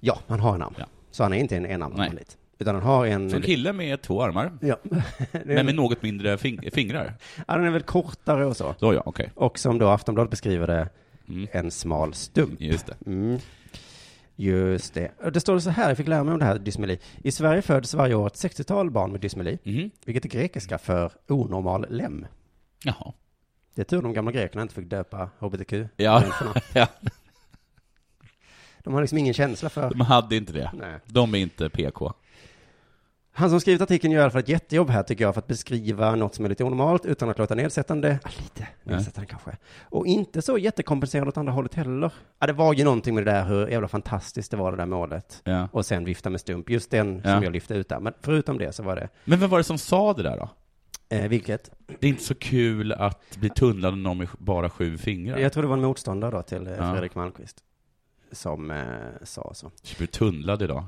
Ja, han har en arm.
Ja.
Så han är inte en enarmad
Nej.
bandit. Utan han har en...
Så en kille med två armar,
ja. Det är
men
en,
med något mindre fing- fingrar.
ja, den är väl kortare och så.
Så ja, okej.
Och som då Aftonbladet beskriver det,
Mm.
en smal stump.
Just det.
Mm. Just det. Och Det står så här, jag fick lära mig om det här dysmeli. I Sverige föds varje år ett 60-tal barn med dysmeli,
Mhm.
vilket är grekiska för onormal lem.
Jaha.
Det är tur de gamla grekerna inte fick döpa hbtq.
Ja. ja,
De har liksom ingen känsla för...
de hade inte det.
Nej.
De är inte PK.
Han som skrivit artikeln gör i alla fall ett jättejobb här tycker jag för att beskriva något som är lite onormalt utan att låta nedsättande, ja, lite nedsättande kanske, och inte så jättekompenserande åt andra hållet heller. Ja, det var ju någonting med det där hur jävla fantastiskt det var det där målet.
Ja.
Och sen vifta med stump, just den
Ja.
som jag lyfte ut där. Men förutom det så var det,
Men vem var det som sa det där då?
eh, vilket,
Det är inte så kul att bli tunnlad av någon med bara sju fingrar.
jag tror det var en motståndare då till eh,
Ja.
Fredrik Malmqvist, som eh, sa så.
Jag blir tunnlad idag.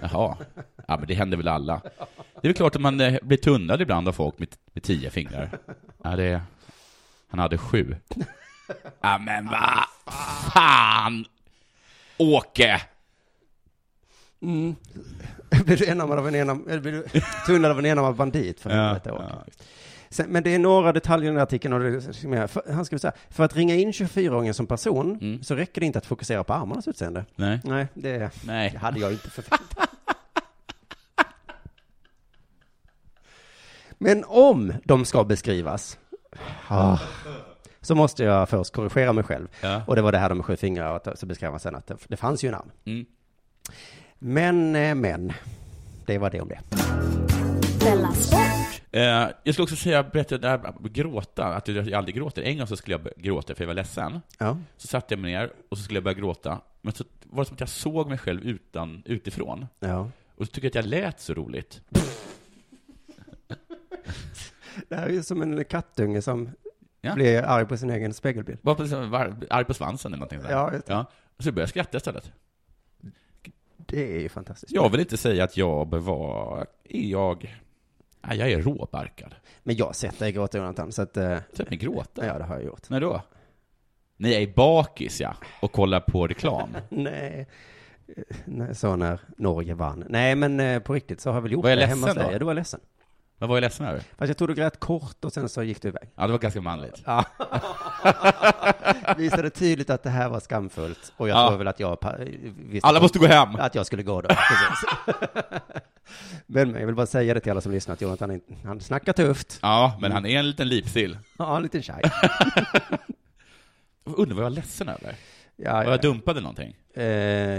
Jaha. Ja, men det händer väl alla. Det är väl klart att man eh, blir tunnlad ibland av folk med, med tio fingrar. Ja, det... Han hade sju. Ja, men va fan! Åke!
Mm. Blir du enarmad av en enarmad, eller blir du tunnad av en enarmad bandit för helvete Åke? Sen, men det är några detaljer i den här artikeln. Och det, som jag- för, han skriver så här, för att ringa in 24-åringen som person så räcker det inte att fokusera på armarnas utseende.
Nej.
Nej, det,
Nej.
det hade jag inte förväntat Men om de ska beskrivas, ah, så måste jag först korrigera mig själv.
Ja.
Och det var det här de med sju fingrar, och att- så beskrev man sen att det, det fanns ju en arm.
Mm.
Men, eh, men, det var det om det.
Della Sport!
Eh, jag skulle också säga, berätta det här med gråta, att jag aldrig gråter. En gång så skulle jag börja gråta för jag var ledsen.
Ja.
Så satte jag mig ner och så skulle jag börja gråta. Men så var det som att jag såg mig själv utan, utifrån.
ja.
Och så tycker jag att jag lät så roligt.
Det här är ju som en kattunge som
Ja.
blir arg på sin egen spegelbild.
Var, på, liksom var arg på svansen eller någonting sådär.
Ja, just det.
ja. Och så började jag skratta istället.
Det är ju fantastiskt.
Jag vill inte säga att jag bör vara... Är jag... Nej, jag är råbarkad.
Men jag har sett dig gråta, Jonathan, så att... Eh,
Sätt mig gråta.
ja, det har jag gjort.
När då? När jag är bakis, ja. Och kollar på reklam.
Nej. Eh, nej, Så när Norge vann. Nej, men eh, på riktigt så har jag väl gjort
Var jag
det
ledsen
hemma hos dig.
då?
Ja, Du var ledsen.
Vad var jag ledsen över?
Fast jag tror du grät kort och sen så gick du iväg.
Ja, det var ganska manligt.
Visade tydligt att det här var skamfullt och jag
Ja.
tror väl att jag pa- visste
Alla måste gå hem!
att jag skulle gå då. Precis. men jag vill bara säga det till alla som lyssnar att Jonathan, är- han snackar tufft.
Ja, men han är en liten lipsill.
Ja, en liten tjej.
Undrar vad jag var ledsen över?
Ja,
Var
ja.
jag dumpade någonting?
Eh,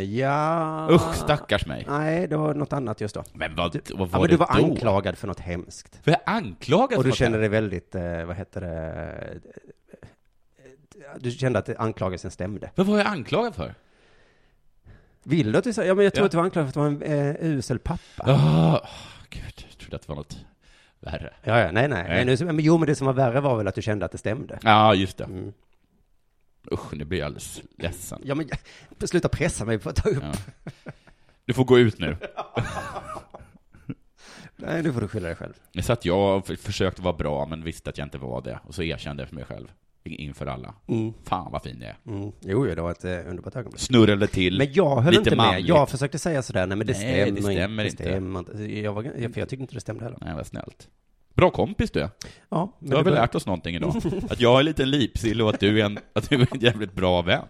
ja...
Usch, stackars mig.
Nej, det var något annat just då.
Men vad,
Du,
vad
ja, men
var det
du var
då?
anklagad för något hemskt.
Var jag anklagad
Och
för
du
något?
kände dig väldigt, eh, vad heter det, eh, du kände att anklagelsen stämde.
Vad var jag anklagad för?
Vill du att vi säger, ja men jag tror
Ja.
att du var anklagad för att du var en eh, usel pappa.
Ah, Gud, jag trodde att det var något värre.
Ja, ja, nej, nej.
Nej.
Men, nu- men, jo, men det som var värre var väl att du kände att det stämde.
Ja, just det.
Mm.
Usch, nu blir jag alldeles ledsen.
Ja, men sluta pressa mig på att ta upp.
Ja. Du får gå ut nu.
Nej, nu får du skylla dig själv.
Det satt jag och f- försökte vara bra, men visste att jag inte var det. Och så erkände jag för mig själv, inför alla.
Mm.
Fan vad fin jag är.
Mm. Jo, jo, det var ett eh, underbart ögonblick.
Snurrade till.
Men jag höll
Lite
inte med.
manligt.
Jag försökte säga sådär, nej men det
Nej, det
stämmer, inte.
stämmer
det
inte.
stämmer inte. Jag, var, jag, för jag tyckte inte det stämde heller.
Nej, vad snällt. Bra kompis du är.
Ja, men
Du har
det
väl
bör-
lärt oss någonting idag? Att jag är en liten lipsill och att du är en, att du är en jävligt bra vän.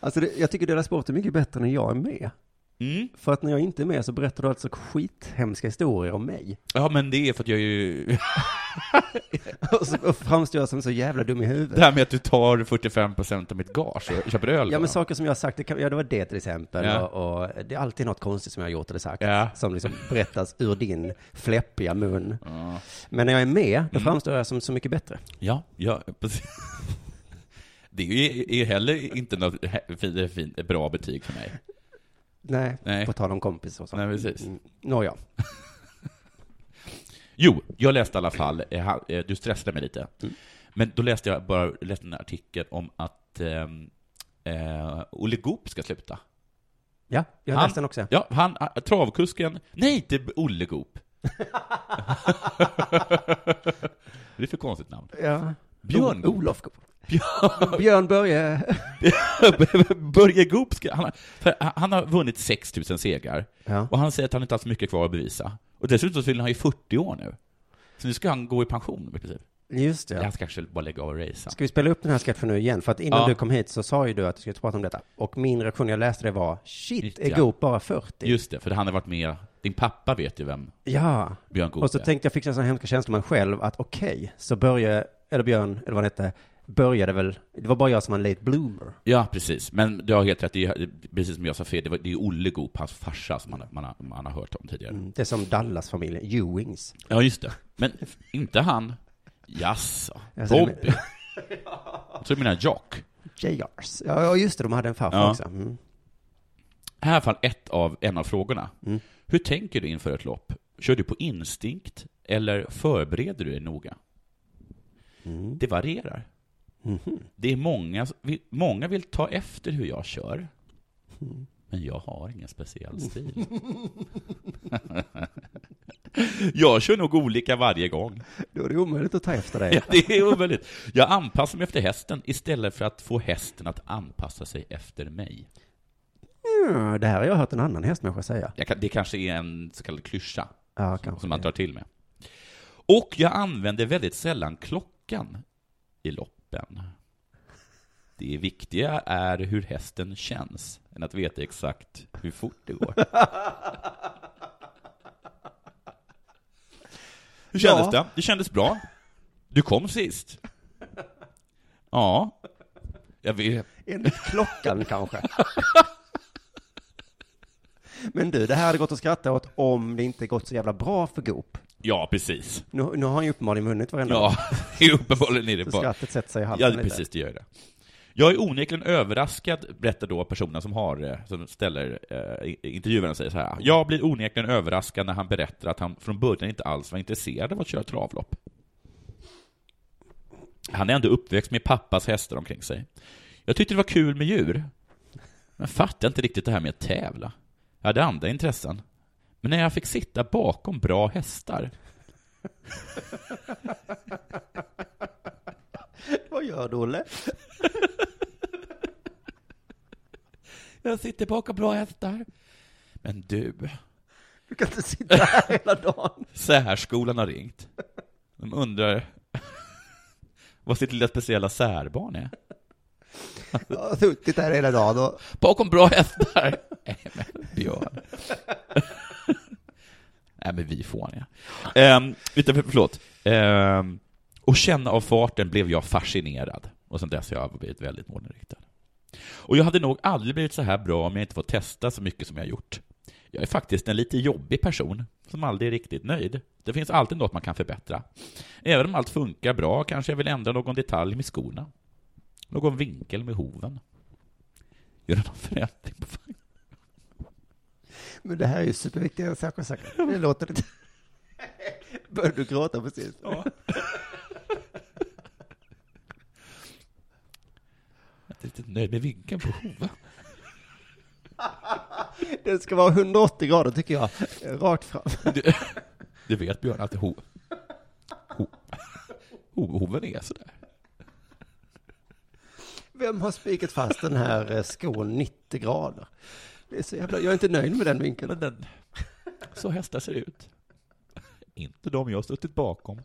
Alltså, det, jag tycker deras sport är mycket bättre när jag är med.
Mm.
För att när jag inte är med så berättar du alltså skithemska historier om mig.
Ja, men det är för att jag är ju...
Och så och framstår jag som så jävla dum i huvudet.
Det här med att du tar 45% av mitt gage och köper öl.
Ja,
bara.
men saker som jag har sagt, det, kan, ja, det var det till exempel.
Ja.
Och, och det är alltid något konstigt som jag har gjort eller sagt.
Ja.
Som liksom berättas ur din fläppiga mun.
Ja.
Men när jag är med, då framstår jag som så mycket bättre.
Ja, ja precis. Det är ju är ju heller inte något he- fin, fin, bra betyg för mig.
Nej,
Nej.
på tal om kompis och sånt.
Nej, precis.
Mm. Nåja.
Jo, jag läste i alla fall, eh, ha- eh, du stressade mig lite.
Mm.
Men då läste jag bara läste en artikel om att ehm, eh, Olle Goop ska sluta.
Ja, jag
Han-
läste den också.
Ja, han, eh, travkusken, nej, det är Olle Goop. det är för konstigt namn.
Ja.
Björn
O-
Goop.
Olof. Björn Börje.
Börje Goop, ska, han, har, för han har vunnit 6000 segrar.
Ja.
Och han säger att han inte har så mycket kvar att bevisa. Och dessutom så fyller han ju 40 år nu. Så nu ska han gå i pension i princip.
Just det.
Han ska kanske bara lägga av och racea.
Ska vi spela upp den här sketchen nu igen? För att innan
Ja.
du kom hit så sa ju du att du skulle prata om detta. Och min reaktion när jag läste det var, shit,
Shit,
är
ja.
Goop bara 40?
Just det, för han har varit med. Din pappa vet ju vem
Ja.
Björn Goop
Och så
är.
tänkte jag, fick jag sån hemska känsla med mig själv, att okej, så Börje, eller Björn, eller vad han hette, började väl, det var bara jag som var en late bloomer. Ja,
Ja, precis. Men du har helt rätt. Det är, precis som jag sa fel, det, var, det är Olle Goop, hans farsa, som man, har- man, har, man har hört om tidigare.
Det är som Dallas-familjen, Ewings.
Ja, just det. Men inte han. Jaså?
Jag ser det
Bobby? Jag tror du menar Jock.
JRs. Ja, ja, just det, de hade en farfar
Ja.
också. Mm.
Här är i alla fall ett av, en av frågorna. Hur tänker du inför ett lopp? Kör du på instinkt eller förbereder du dig noga?
Mm.
Det varierar. Det är många, många vill ta efter hur jag kör. Men jag har ingen speciell stil. jag kör nog olika varje gång.
Då är det omöjligt att ta efter dig.
Ja, det är omöjligt. Jag anpassar mig efter hästen istället för att få hästen att anpassa sig efter mig.
Mm, det här har jag hört en annan hästmänniska säga.
Jag kan, det kanske är en så kallad klyscha.
Ja, kanske.
som man tar till med. Och jag använder väldigt sällan klockan i loppen. Det viktiga är hur hästen känns, än att veta exakt hur fort det går. Hur kändes
Ja.
det? Det kändes bra. Du kom sist. Ja. Jag vet.
Enligt klockan kanske. Men du, det här hade gått att skratta åt om det inte gått så jävla bra för Goop.
Ja, precis.
Nu, nu har han ju uppenbarligen vunnit varenda gång.
Ja, uppenbarligen är det
Så
bara...
skrattet sätter sig i halsen
Ja,
lite.
precis, det gör det. Jag är onekligen överraskad, berättar då personen som har, eh, som ställer eh, i- intervjuaren och säger så här. Jag blir onekligen överraskad när han berättar att han från början inte alls var intresserad av att köra travlopp. Han är ändå uppväxt med pappas hästar omkring sig. Jag tyckte det var kul med djur. Men fattade inte riktigt det här med att tävla. Jag hade andra intressen. Men när jag fick sitta bakom bra hästar
Vad gör du, Olle?
Jag sitter bakom bra hästar. Men du,
Du kan inte sitta här hela dagen.
särskolan har ringt. De undrar vad sitt lilla speciella särbarn är.
Jag har suttit här hela dagen och...
Bakom bra hästar. Nej, men Björn. Nej, men vi fåniga. Um, utan, förlåt. Ehm, och känna av farten blev jag fascinerad. Och sen dess har jag blivit väldigt målinriktad. Och jag hade nog aldrig blivit så här bra om jag inte fått testa så mycket som jag gjort. Jag är faktiskt en lite jobbig person som aldrig är riktigt nöjd. Det finns alltid något man kan förbättra. Även om allt funkar bra kanske jag vill ändra någon detalj med skorna. Någon vinkel med hoven. Göra någon förändring på vagnen.
Men det här är ju superviktiga saker säkert. Det låter inte... Började du gråta precis?
Jag är inte riktigt nöjd med vinkeln på hoven.
Det ska vara 180 grader tycker jag. Rakt fram.
Du, du vet Björn att ho, ho, ho, hoven är sådär.
Vem har spikat fast den här eh, skon 90 grader? Det är så jävla... Jag är inte nöjd med den vinkeln.
Men den, så hästar ser ut. Inte de jag har suttit bakom.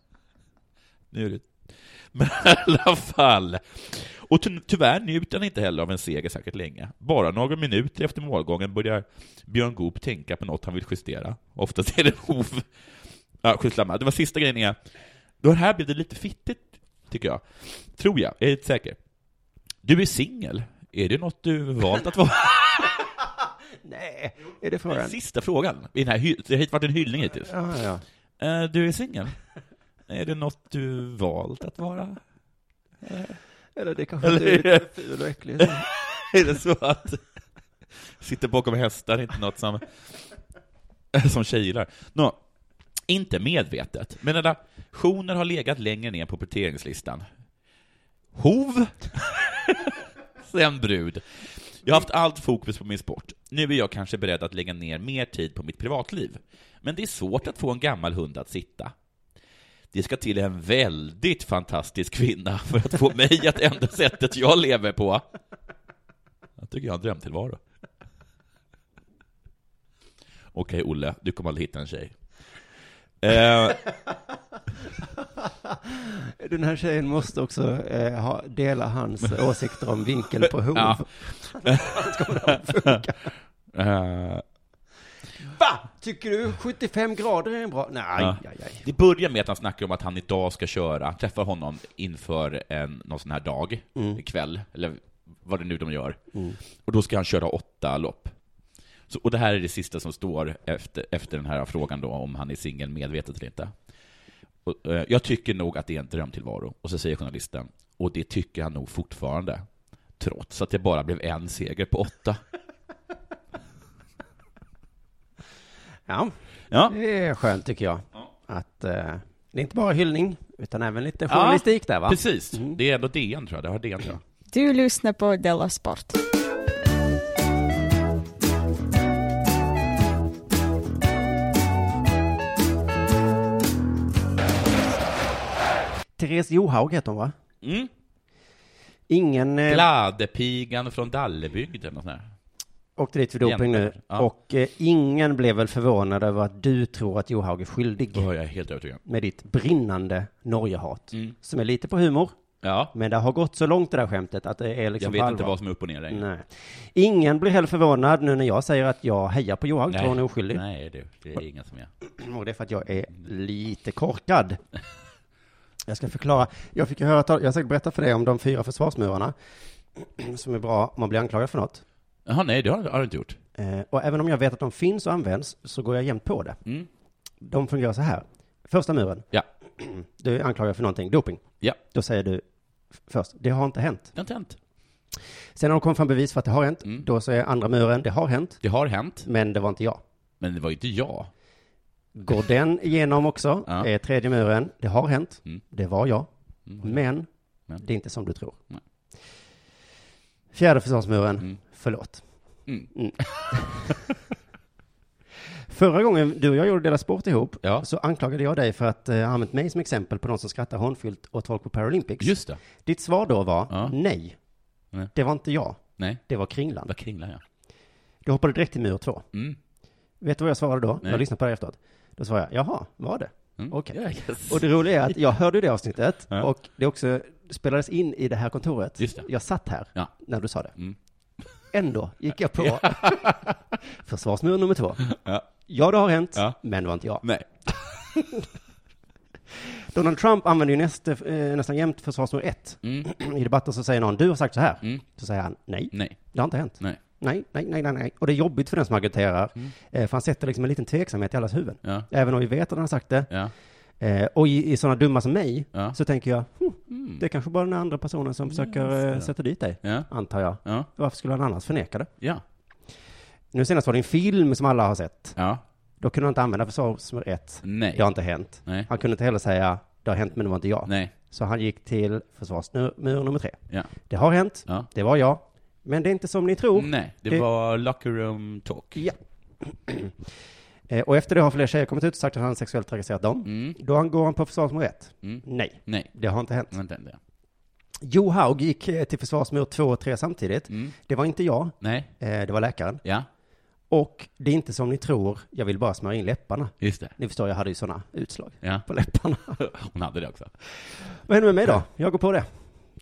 Nu är det... Men i alla fall. Och ty tyvärr njuter han inte heller av en seger särskilt länge. Bara några minuter efter målgången börjar Björn Goop tänka på något han vill justera. Oftast är det hov. Ja, skitsamma. Det var sista grejen är, då här blev det lite fittigt, tycker jag. Tror jag, jag är inte säker. Du är singel. Är det något du valt att vara?
Nej, är det
Den
frågan?
sista frågan. I den här hy- det har varit en hyllning hittills.
Ja, ja.
Eh, Du är singel. Är det något du valt att vara?
Eller det kanske
Eller-
inte är lite ful och äcklig.
Är det så att sitter bakom hästar är inte något som, som tjejer gillar? Nå, inte medvetet, men redaktioner har legat längre ner på prioriteringslistan. Hov, sen brud. Jag har haft allt fokus på min sport. Nu är jag kanske beredd att lägga ner mer tid på mitt privatliv. Men det är svårt att få en gammal hund att sitta. Det ska till en väldigt fantastisk kvinna för att få mig att ändra sättet jag lever på. Jag tycker jag har en drömtillvaro. Okej, Olle, du kommer aldrig hitta en tjej. Eh,
Den här tjejen måste också eh, ha, dela hans åsikter om vinkel på hov.
Ja. eh,
Va? Tycker du 75 grader är en bra? Nej,
Ja.
aj, aj.
det börjar med att han snackar om att han idag ska köra, han träffar honom inför en, någon sån här dag, kväll, eller vad det nu de gör. Och då ska han köra åtta lopp. Så, och det här är det sista som står efter, efter den här frågan då, om han är singel medvetet eller inte. Och, eh, jag tycker nog att det är en drömtillvaro. Och så säger journalisten, och det tycker han nog fortfarande. Trots att det bara blev en seger på åtta.
Ja,
Ja,
det är skönt tycker jag. Att eh, det är inte bara hyllning, utan även lite
Ja,
journalistik där va?
precis. Det är ändå DN tror jag, det har DN tror jag.
Du lyssnar på Della Sport.
Therese Johaug heter hon va?
Mm.
Ingen eh,
Gladepigan från Dallebygden och sådär.
åkte dit för doping nu.
Jämtar, ja.
Och eh, ingen blev väl förvånad över att du tror att Johaug är skyldig.
Då är jag helt övertygad.
Med ditt brinnande Norgehat.
Mm.
Som är lite på humor.
Ja,
Men det har gått så långt det där skämtet att det är
jag
liksom
vet
på
inte
allvar.
vad som är upp och ner längre.
Nej. Ingen blir heller förvånad nu när jag säger att jag hejar på Johan,
Nej.
tror hon är oskyldig.
Nej, det, det är ingen som är.
Och det är för att jag är lite korkad. Jag ska förklara. Jag fick ju höra, tal- jag ska berätta för dig om de fyra försvarsmurarna. Som är bra om man blir anklagad för något.
Jaha, nej, det har, har du inte gjort.
Eh, Och även om jag vet att de finns och används så går jag jämt på det.
Mm.
De fungerar så här. Första muren.
Ja.
Du är anklagad för någonting, doping.
Ja.
Då säger du f- först, det har inte hänt.
Det har inte hänt.
Sen har de kommit fram bevis för att det har hänt.
Mm.
Då säger andra muren, det har hänt,
Det har hänt,
men det var inte jag.
men det var ju inte jag.
Går den igenom också,
Ja.
är tredje muren, det har hänt,
Mm.
det var jag,
Mm.
men,
Men.
det är inte som du tror.
Nej.
Fjärde försvarsmuren,
Mm.
förlåt.
Mm.
Förra gången du och jag gjorde Dela Sport ihop
Ja.
så anklagade jag dig för att eh, ha använt mig som exempel på någon som skrattar hånfyllt åt folk på Paralympics.
Just det.
Ditt svar då var
Ja.
nej,
Nej.
det var inte jag,
Nej,
det var
det
Kringland.
var kringlan ja.
Du hoppade direkt till mur två.
Mm.
Vet du vad jag svarade då?
Nej.
Jag lyssnade på dig efteråt. Då svarade jag, jaha, var det?
Mm.
Okej.
Ja, yes.
Och det roliga är att jag hörde det avsnittet
Ja.
och det också spelades in i det här kontoret.
Just det.
Jag satt här
Ja.
när du sa det.
Mm.
Ändå gick jag på försvarsmur nummer två.
Ja.
Ja, det har hänt,
Ja.
men det var inte jag.
Nej.
Donald Trump använder ju nästa, eh, nästan jämt försvarsmur ett.
Mm.
I debatten så säger någon, du har sagt så här.
Mm.
Så säger han, nej,
Nej.
det har inte hänt.
Nej.
Nej, nej, nej, nej, nej. Och det är jobbigt för den som argumenterar, eh, för han sätter liksom en liten tveksamhet i allas huvuden.
Mm. Ja.
Även om vi vet att han har sagt det.
Ja.
Eh, och i, i sådana dumma som mig,
Ja.
så tänker jag, hm,
Mm.
det är kanske bara den andra personen som försöker eh, sätta dit dig,
Ja.
antar jag.
Ja.
Varför skulle han annars förneka det?
Ja.
Nu senast var det en film som alla har sett.
Ja.
Då kunde han inte använda försvarsmur 1.
Nej.
Det har inte hänt.
Nej.
Han kunde inte heller säga, det har hänt men det var inte jag.
Nej.
Så han gick till försvarsmur nummer tre.
Ja.
Det har hänt,
Ja.
det var jag, men det är inte som ni tror.
Nej, det,
Oh. Det-
var locker room talk.
Ja. Eh, Och efter det har fler tjejer kommit ut och sagt att han sexuellt trakasserat dem.
Mm.
Då han- går han på försvarsmur 1.
Mm.
Nej,
Nej.
det har inte hänt.
Vänta, vänta.
Jo Haug gick eh, till försvarsmur 2 och 3 samtidigt.
Mm.
Det var inte jag,
Nej.
eh, det var läkaren.
Ja.
Och det är inte som ni tror, jag vill bara smörja in läpparna.
Just det.
Ni förstår, jag hade ju sådana utslag
Ja.
på läpparna.
Hon hade det också.
Vad händer med mig då? Jag går på det.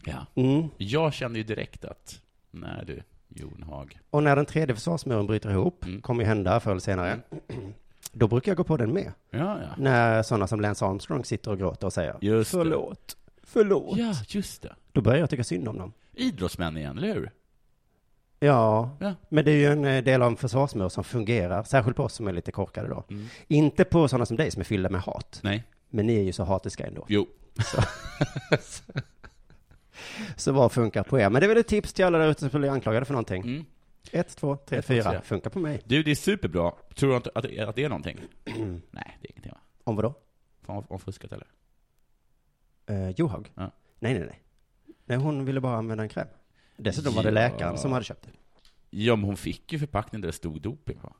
Ja.
Mm.
Jag kände ju direkt att, nej du, Jon Haag.
Och när den tredje försvarsmuren bryter ihop,
Mm.
kommer ju hända förr eller senare, då brukar jag gå på den med.
Ja, ja.
När sådana som Lance Armstrong sitter och gråter och säger
Just det.
förlåt, förlåt.
Ja, just det.
Då börjar jag tycka synd om dem.
Idrottsmän igen, eller hur?
Ja,
Ja.
men det är ju en eh, del av en försvarsmur som fungerar, särskilt på oss som är lite korkade då.
Mm.
Inte på sådana som dig som är fyllda med hat,
Nej.
men ni är ju så hatiska ändå.
Jo.
Så vad funkar på er? Men det är väl ett tips till alla där ute som blir anklagade för någonting.
Mm.
Ett, två, tre,
Ett, två,
fyra.
tre.
Funkar på mig.
Du, det är superbra. Tror du inte att, att det är någonting? nej, det är ingenting va?
Om vadå?
Fan, har hon fuskat eller?
Eh, Johag?
Ja.
Nej, nej, nej. Nej, hon ville bara använda en kräm. Dessutom var det
Ja.
läkaren som hade köpt det.
Ja, men hon fick ju förpackningen där det stod doping på.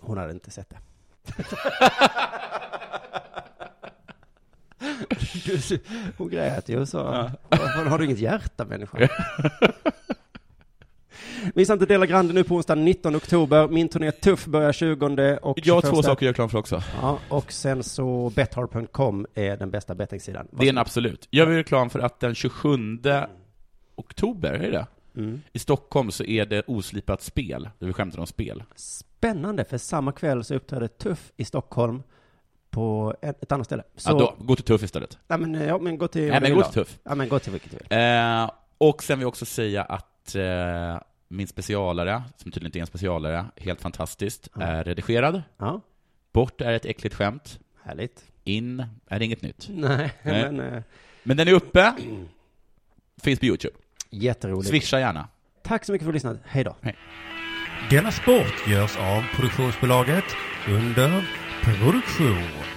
Hon hade inte sett det. Du- Hon grät ju och sa, "Varför har du inget hjärta människa? Missa inte Dela Grande nu på onsdag 19 oktober. Min turné Tuff börjar 20 och
Jag har två
21.
saker att göra reklam för också.
Ja, och sen så bethard.com är den bästa bettingsidan.
Det är en absolut. Jag vill reklam för att den 27 oktober, är det
Mm.
I Stockholm så är det oslipat spel, där vi skämtar om spel.
Spännande, för samma kväll så uppträdde Tuff i Stockholm på ett, ett annat ställe. Så,
Ja, då, gå till Tuff istället.
Nej, men, ja, men gå till...
Nej, men gå till
Tuff.
Tuff.
Ja, men gå till vilket du vill.
Eh, och sen vill jag också säga att eh, min specialare, som tydligen inte är en specialare, helt fantastiskt,
Ja.
är redigerad.
Ja,
Bort är ett äckligt skämt.
härligt.
In är inget nytt.
Nej,
Nej.
men eh,
Men den är uppe. Finns på YouTube.
jätteroligt.
Swisha gärna.
Tack så mycket för att du lyssnade. Hej då.
Denna sport görs av produktionsbolaget under produktion.